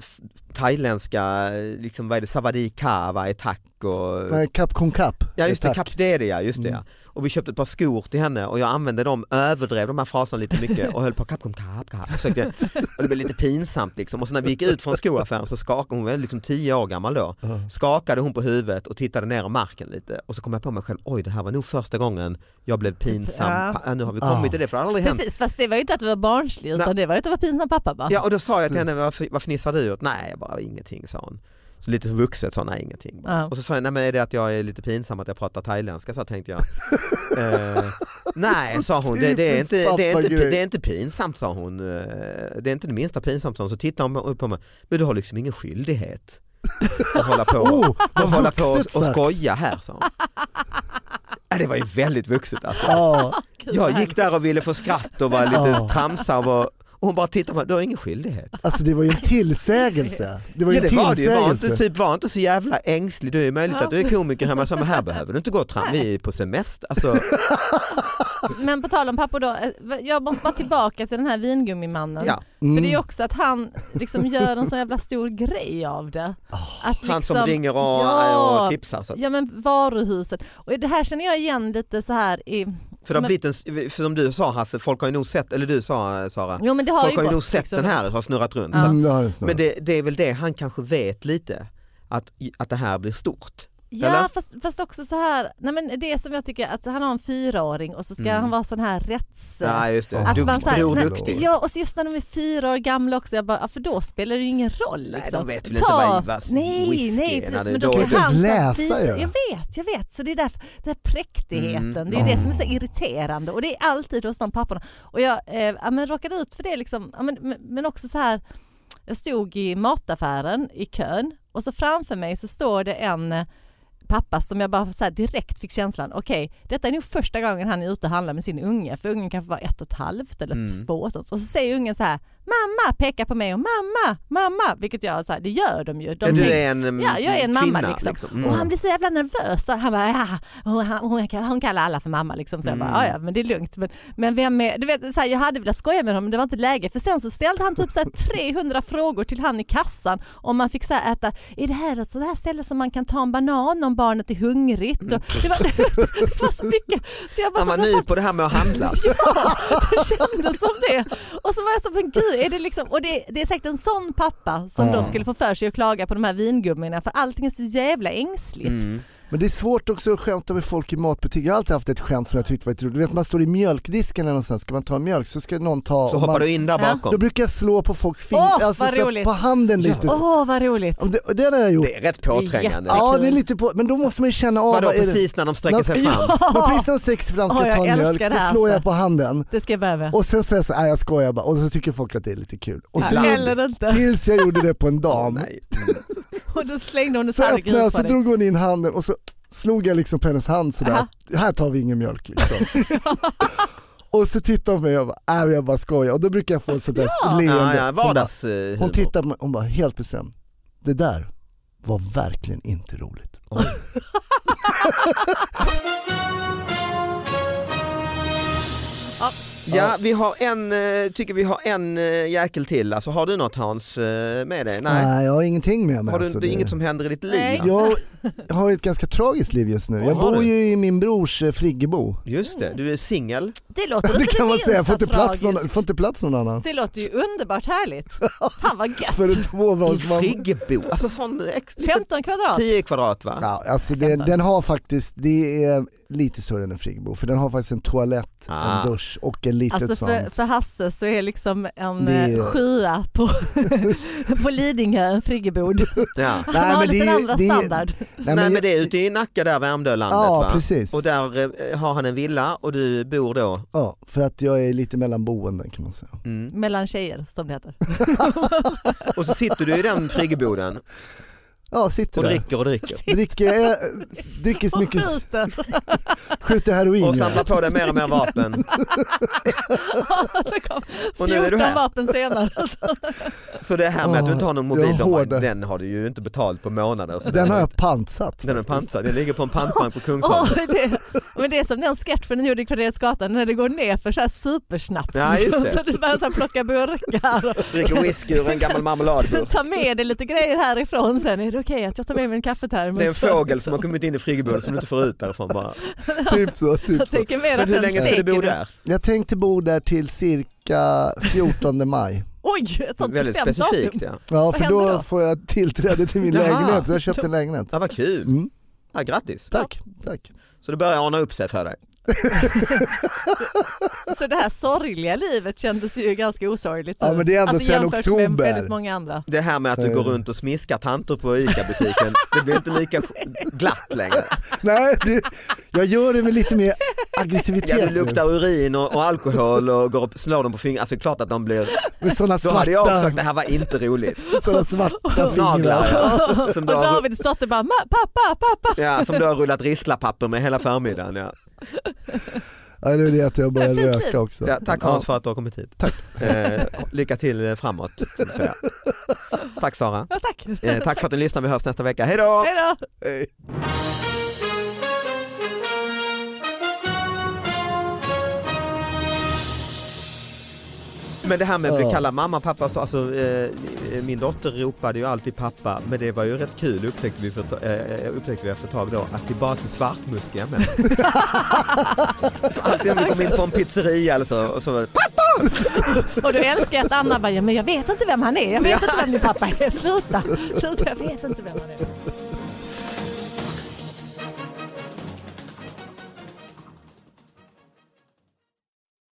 [SPEAKER 2] f- thailändska, eh, liksom vad är det, savadi ka, vad är tack och...
[SPEAKER 4] Nej, Kap con kap.
[SPEAKER 2] Ja just det,
[SPEAKER 4] Eh, Tack.
[SPEAKER 2] kap det är det ja, just det
[SPEAKER 4] Mm.
[SPEAKER 2] ja. Och vi köpte ett par skor till henne och jag använde dem, överdrev de här fraserna lite mycket och höll på kap kom kap kap. Försökte, och det blev lite pinsamt liksom. Och så när vi gick ut från skoaffären så skakade hon, var liksom tio år gammal då,
[SPEAKER 4] Ja.
[SPEAKER 2] skakade hon på huvudet och tittade ner i marken lite. Och så kom jag på mig själv, oj det här var nog första gången jag blev pinsam.
[SPEAKER 3] Ja.
[SPEAKER 2] Pa- Ja. Nu har vi kommit
[SPEAKER 4] Ja. Ah.
[SPEAKER 2] till det för det har aldrig hänt
[SPEAKER 3] Precis, fast det var ju inte att du var barnslig utan
[SPEAKER 2] Nej.
[SPEAKER 3] det var ju att du var pinsam pappa
[SPEAKER 4] Alltså-
[SPEAKER 3] bara.
[SPEAKER 2] Ja och då sa jag till henne, vad, vad fnissar du åt? Nej, bara ingenting sa hon. Så lite som vuxet sa hon, nej ingenting. Bara.
[SPEAKER 3] Ja.
[SPEAKER 2] Och så sa jag, nej men är det att jag är lite pinsam att jag pratar thailändska? Så tänkte jag. eh, nej sa hon, det, det, är inte, det, är inte,
[SPEAKER 4] pappagrej.
[SPEAKER 2] det är inte pinsamt sa hon. Eh, Det är inte det minsta pinsamt sa hon. Så tittade hon upp på mig, men du har liksom ingen skyldighet att hålla på,
[SPEAKER 4] Oh,
[SPEAKER 2] att
[SPEAKER 4] vad
[SPEAKER 2] hålla på och,
[SPEAKER 4] vuxet
[SPEAKER 2] och
[SPEAKER 4] sagt.
[SPEAKER 2] skoja här sa hon. Ja, Det var ju väldigt vuxet alltså.
[SPEAKER 4] Ja,
[SPEAKER 3] Gud, vad
[SPEAKER 2] Jag gick
[SPEAKER 3] härligt.
[SPEAKER 2] där och ville få skratt och var lite
[SPEAKER 4] Ja.
[SPEAKER 2] tramsig och var- och hon bara tittade på mig, du har ingen skyldighet.
[SPEAKER 4] alltså det var ju en tillsägelse. Det var ju
[SPEAKER 2] Ja,
[SPEAKER 4] en
[SPEAKER 2] det var det ju. Var inte,
[SPEAKER 4] tillsägelse.
[SPEAKER 2] typ, var inte så jävla ängslig. Det är möjligt
[SPEAKER 3] Ja.
[SPEAKER 2] att du är komiker hemma, så, men här behöver du inte gå och tram. Vi är på semester. Alltså,
[SPEAKER 3] Men på tal om pappor då, eh, jag måste bara tillbaka till den här vingummimannen.
[SPEAKER 2] ja. Mm.
[SPEAKER 3] För det är ju också att han liksom gör en så jävla stor grej av det. Att
[SPEAKER 2] Han som
[SPEAKER 3] liksom-
[SPEAKER 2] ringer och,
[SPEAKER 3] ja,
[SPEAKER 2] och tipsar. Så. att-
[SPEAKER 3] Ja men varuhusen. Och det här känner jag igen lite så här i...
[SPEAKER 2] För, det har
[SPEAKER 3] men-
[SPEAKER 2] blivit en, för som du sa Hasse, folk har ju nog sett, eller du sa eh, Sara,
[SPEAKER 3] Jo men det har
[SPEAKER 2] folk
[SPEAKER 3] ju
[SPEAKER 2] har ju
[SPEAKER 3] gått,
[SPEAKER 2] nog sett
[SPEAKER 3] liksom.
[SPEAKER 2] den här, har snurrat runt. Så. att-
[SPEAKER 4] Mm, det har det snart.
[SPEAKER 2] Men det, det är väl det han kanske vet lite, att, att det här blir stort. Eller?
[SPEAKER 3] Ja fast, fast också så här, nej men det som jag tycker att han har en fyraåring och så ska
[SPEAKER 2] Mm.
[SPEAKER 3] han vara sån här rätts...
[SPEAKER 2] Ja, just det.
[SPEAKER 4] Att
[SPEAKER 2] Dukt,
[SPEAKER 3] man så här-
[SPEAKER 2] bror
[SPEAKER 4] nej,
[SPEAKER 2] duktig.
[SPEAKER 3] Ja och så just när de är fyra år gamla också, jag bara, ja, för då spelar det ju ingen roll.
[SPEAKER 2] Nej,
[SPEAKER 3] Liksom.
[SPEAKER 2] de vet väl inte vad- vad
[SPEAKER 3] nej,
[SPEAKER 2] whisky är
[SPEAKER 3] nej,
[SPEAKER 2] när
[SPEAKER 3] precis,
[SPEAKER 2] det är
[SPEAKER 3] men då
[SPEAKER 2] dåligt.
[SPEAKER 3] ska
[SPEAKER 4] Kan
[SPEAKER 3] han
[SPEAKER 4] inte ens
[SPEAKER 3] läsa,
[SPEAKER 4] läsa
[SPEAKER 3] jag.
[SPEAKER 4] ju.
[SPEAKER 3] vet, jag vet. Så det är därför, den här präktigheten,
[SPEAKER 2] Mm.
[SPEAKER 3] det är ju det som är så irriterande och det är alltid hos de papporna. Och jag eh, ja, men råkade ut för det liksom, ja, men, men- men också så här, jag stod i mataffären i kön och så framför mig så står det en eh, pappa som jag bara så här direkt fick känslan, okej, detta är nog första gången han är ute och handlar med sin unge, för ungen kanske var ett och ett halvt eller
[SPEAKER 2] Mm.
[SPEAKER 3] två. Och så, så säger ungen så här, mamma, pekar på mig och mamma, mamma, vilket jag så här, det gör de ju. De
[SPEAKER 2] Ja, du
[SPEAKER 3] tänker-
[SPEAKER 2] är en mm,
[SPEAKER 3] Ja, jag är en mamma,
[SPEAKER 2] kvinna,
[SPEAKER 3] liksom.
[SPEAKER 2] Mm.
[SPEAKER 3] Och han blir så jävla nervös. Så han bara, ja, hon, hon, hon kallar alla för mamma. Liksom. Så jag
[SPEAKER 2] Mm.
[SPEAKER 3] bara, "Ja, ja, men det är lugnt. Men, men vem är, du vet, så här, jag hade velat skoja med honom men det var inte läge. För sen så ställde han typ så här 300 frågor till han i kassan om man fick så här äta, är det här ett sådant här ställe som man kan ta en banan om barnet är hungrigt? Och det, var, det var så mycket. Så jag bara,
[SPEAKER 2] Han var
[SPEAKER 3] så här, "Vad
[SPEAKER 2] ny på det här med att handla.
[SPEAKER 3] det kändes som det. Och så var jag så, men gud, är det liksom, och det, det är säkert en sån pappa som då skulle få för sig att klaga på de här vingummorna för allting är så jävla ängsligt.
[SPEAKER 4] Men det är svårt också att skämta med folk i matbutiker. Jag har alltid haft ett skämt som jag tyckte var lite roligt. Du vet man står i mjölkdisken eller någonstans, ska man ta mjölk så ska någon ta...
[SPEAKER 2] Så
[SPEAKER 4] och man,
[SPEAKER 2] hoppar du in där
[SPEAKER 3] Ja.
[SPEAKER 4] Då
[SPEAKER 2] bakom.
[SPEAKER 4] brukar jag slå på folks fingrar,
[SPEAKER 3] Åh,
[SPEAKER 4] alltså
[SPEAKER 3] vad
[SPEAKER 4] så här
[SPEAKER 3] roligt.
[SPEAKER 4] på handen lite.
[SPEAKER 2] Ja.
[SPEAKER 4] Så.
[SPEAKER 3] Åh vad roligt.
[SPEAKER 4] Och det, och det har jag gjort.
[SPEAKER 2] Det är rätt påträngande.
[SPEAKER 3] jätte-
[SPEAKER 4] Ja
[SPEAKER 3] kul.
[SPEAKER 4] det är lite på, men då måste man ju känna av.
[SPEAKER 2] Vadå
[SPEAKER 4] vad är det-
[SPEAKER 2] precis när de sträcker sig fram?
[SPEAKER 4] Men precis när de sträcker sig fram ska
[SPEAKER 3] Åh,
[SPEAKER 4] jag ta
[SPEAKER 3] jag
[SPEAKER 4] en mjölk
[SPEAKER 3] älskar det här
[SPEAKER 4] så slår jag
[SPEAKER 3] alltså.
[SPEAKER 4] på handen.
[SPEAKER 3] Det ska jag börja med.
[SPEAKER 4] Och sen säger jag så här, "Nej, jag skojar bara och så tycker folk att det är lite kul. Och så
[SPEAKER 2] Ibland.
[SPEAKER 3] Eller inte.
[SPEAKER 4] tills jag gjorde det på en
[SPEAKER 2] Åh,
[SPEAKER 4] dam.
[SPEAKER 2] nej.
[SPEAKER 3] Och då slängde hon en
[SPEAKER 4] Så
[SPEAKER 3] tallrik i
[SPEAKER 4] öppnade jag,
[SPEAKER 3] huvudet
[SPEAKER 4] så
[SPEAKER 3] på dig.
[SPEAKER 4] drog hon in handen och så slog jag liksom på hennes hand sådär.
[SPEAKER 3] Aha.
[SPEAKER 4] Här tar vi ingen mjölk liksom. och så tittar hon på mig och jag bara, äh, jag bara skojar. Och då brukar jag få ett sånt där
[SPEAKER 3] Ja.
[SPEAKER 4] leende.
[SPEAKER 2] Ja, ja,
[SPEAKER 4] hon, bara,
[SPEAKER 2] vardags, eh,
[SPEAKER 4] hon
[SPEAKER 2] humor.
[SPEAKER 4] tittar på mig hon bara helt bestämd. Det där var verkligen inte roligt.
[SPEAKER 2] Ja, vi har en, eh, tycker vi har en eh, jäkel till. Alltså, har du något Hans eh, med dig?
[SPEAKER 4] Nej.
[SPEAKER 2] Nej.
[SPEAKER 4] jag har ingenting med mig.
[SPEAKER 2] Har du,
[SPEAKER 4] alltså,
[SPEAKER 2] det är inget som händer i ditt liv?
[SPEAKER 3] Nej.
[SPEAKER 2] Ja.
[SPEAKER 4] Jag har ett ganska tragiskt liv just nu.
[SPEAKER 2] Vad
[SPEAKER 4] Jag
[SPEAKER 2] har
[SPEAKER 4] bor
[SPEAKER 2] du?
[SPEAKER 4] ju i min brors eh, friggebo.
[SPEAKER 2] Just det, du är singel.
[SPEAKER 3] Det låter
[SPEAKER 4] Det
[SPEAKER 3] inte
[SPEAKER 4] kan man
[SPEAKER 3] minsta
[SPEAKER 4] säga, jag får inte plats någon,
[SPEAKER 3] tragiskt.
[SPEAKER 4] får inte plats någon annan.
[SPEAKER 3] Det låter ju underbart härligt. Fan vad gött.
[SPEAKER 4] För en
[SPEAKER 2] I
[SPEAKER 4] tvåbarnsmamma.
[SPEAKER 2] Friggebo, alltså sån ex, lite,
[SPEAKER 3] 15 kvadrat.
[SPEAKER 2] 10 kvadrat va?
[SPEAKER 4] Ja, alltså det, den har faktiskt, det är lite större än en friggebo för den har faktiskt en toalett,
[SPEAKER 2] Ah.
[SPEAKER 4] en dusch och en litet
[SPEAKER 3] Alltså
[SPEAKER 4] sån.
[SPEAKER 3] för, för Hasse så är liksom en
[SPEAKER 4] Det är-
[SPEAKER 3] eh, sjua på, på Lidingö en friggebod.
[SPEAKER 2] Ja.
[SPEAKER 3] Han
[SPEAKER 4] Nej,
[SPEAKER 3] har
[SPEAKER 4] men det
[SPEAKER 3] lite
[SPEAKER 4] är ju-
[SPEAKER 3] andra
[SPEAKER 4] det är-
[SPEAKER 3] standard.
[SPEAKER 2] Nej
[SPEAKER 4] Nej,
[SPEAKER 2] men
[SPEAKER 4] jag-
[SPEAKER 2] det är ute i Nacka där, Värmdölandet
[SPEAKER 4] Ja
[SPEAKER 2] va?
[SPEAKER 4] precis,
[SPEAKER 2] Och där eh, har han en villa och du bor då?
[SPEAKER 4] ja, för att jag är lite mellan boenden kan man säga.
[SPEAKER 2] Mm.
[SPEAKER 3] Mellan tjejer som det heter.
[SPEAKER 2] Och så sitter du i den friggeboden
[SPEAKER 4] Ja, sitter
[SPEAKER 2] och
[SPEAKER 4] där.
[SPEAKER 2] dricker och dricker.
[SPEAKER 4] Dricker, jag, dricker så
[SPEAKER 3] Och
[SPEAKER 4] mycket,
[SPEAKER 3] skjuter.
[SPEAKER 4] skjuter heroin.
[SPEAKER 2] Och
[SPEAKER 4] ja.
[SPEAKER 2] samlar på dig mer och mer vapen.
[SPEAKER 3] Så kom
[SPEAKER 2] Och nu är du
[SPEAKER 3] 14
[SPEAKER 2] här.
[SPEAKER 3] vapen senare.
[SPEAKER 2] Så det här med att du inte har någon mobil,
[SPEAKER 4] Jag är hård.
[SPEAKER 2] den har du ju inte betalt på månader. Så
[SPEAKER 4] Den har jag pansat.
[SPEAKER 2] den är pansad, den ligger på en pantbank på
[SPEAKER 3] Åh,
[SPEAKER 2] Kungsholmen.
[SPEAKER 3] det, men det är som den sketchen gjorde i Kvarterets när det går ner för så här supersnabbt.
[SPEAKER 2] Ja, just det.
[SPEAKER 3] Så du börjar så här plocka burkar och
[SPEAKER 2] Dricker whisky ur en gammal marmeladburk.
[SPEAKER 3] ta med dig lite grejer härifrån sen. Är det okej att jag tar med mig en kaffetermos?
[SPEAKER 2] Det är en fågel som har kommit in i friggeboden som du inte får ut därifrån bara.
[SPEAKER 4] typ så, typ
[SPEAKER 3] Jag
[SPEAKER 4] så.
[SPEAKER 3] tänker mer
[SPEAKER 2] Men
[SPEAKER 3] att
[SPEAKER 2] hur
[SPEAKER 3] den
[SPEAKER 2] länge ska du bo
[SPEAKER 3] steker
[SPEAKER 2] där?
[SPEAKER 4] Jag tänkte bo där till cirka 14 maj.
[SPEAKER 3] Oj, ett sånt
[SPEAKER 2] Väldigt
[SPEAKER 3] bestämt datum.
[SPEAKER 2] specifikt ja.
[SPEAKER 4] Ja, för
[SPEAKER 3] händer
[SPEAKER 4] då,
[SPEAKER 3] då?
[SPEAKER 4] får jag tillträde till min
[SPEAKER 2] Jaha.
[SPEAKER 4] lägenhet. Jag har köpt en lägenhet.
[SPEAKER 2] Ja, vad kul,
[SPEAKER 4] Mm.
[SPEAKER 2] ja, grattis.
[SPEAKER 4] Tack, tack.
[SPEAKER 2] Så det börjar ana upp sig för dig.
[SPEAKER 3] Så det här sorgliga livet kändes ju ganska osorgligt. Alltså,
[SPEAKER 4] Ja, men det är ändå sedan
[SPEAKER 3] jämfört med
[SPEAKER 4] oktober.
[SPEAKER 3] väldigt många andra.
[SPEAKER 2] Det här med att du
[SPEAKER 4] Eh.
[SPEAKER 2] går runt och smiskar tanter på ICA-butiken, det blir inte lika glatt längre.
[SPEAKER 4] Nej, det, jag gör det med lite mer
[SPEAKER 2] Ja,
[SPEAKER 4] aggressivitet
[SPEAKER 2] du luktar urin och, och alkohol och går och slår dem på fingrarna, alltså det är klart att de blir...
[SPEAKER 4] nu. Med sådana
[SPEAKER 2] Då hade jag också
[SPEAKER 4] svarta,
[SPEAKER 2] sagt det här var inte roligt.
[SPEAKER 4] såna svarta
[SPEAKER 2] Naglar
[SPEAKER 4] fingrar.
[SPEAKER 2] ja. Som
[SPEAKER 3] Och
[SPEAKER 2] du har,
[SPEAKER 3] Davids dotter bara, "Ma, pappa, pappa.
[SPEAKER 2] ja, som du har rullat risslapapper med hela förmiddagen. Ja.
[SPEAKER 4] Ja, det är det att jag börjar
[SPEAKER 3] Det är fint
[SPEAKER 4] röka också.
[SPEAKER 2] Ja, tack Hans för att du har kommit hit. Tack. Eh, lycka till eh, framåt. får vi säga. Tack Sara.
[SPEAKER 3] Ja, tack.
[SPEAKER 2] Eh, tack för att ni lyssnade, vi hörs nästa vecka. Hej då!
[SPEAKER 3] Hej då.
[SPEAKER 2] Hej. Men det här med att bli
[SPEAKER 4] Ja.
[SPEAKER 2] kallad mamma, pappa, så, alltså, eh, min dotter ropade ju alltid pappa, men det var ju rätt kul upptäckte vi, för, ett- eh, upptäckte vi efter ett tag då, att det bara är till svartmuskiga män. så alltid när vi kom in på en pizzeria eller så, och så var det,
[SPEAKER 3] Och då älskar jag att Anna bara, "Ja, men jag vet inte vem han är, jag vet inte vem din pappa är, sluta, sluta, jag vet inte vem han är.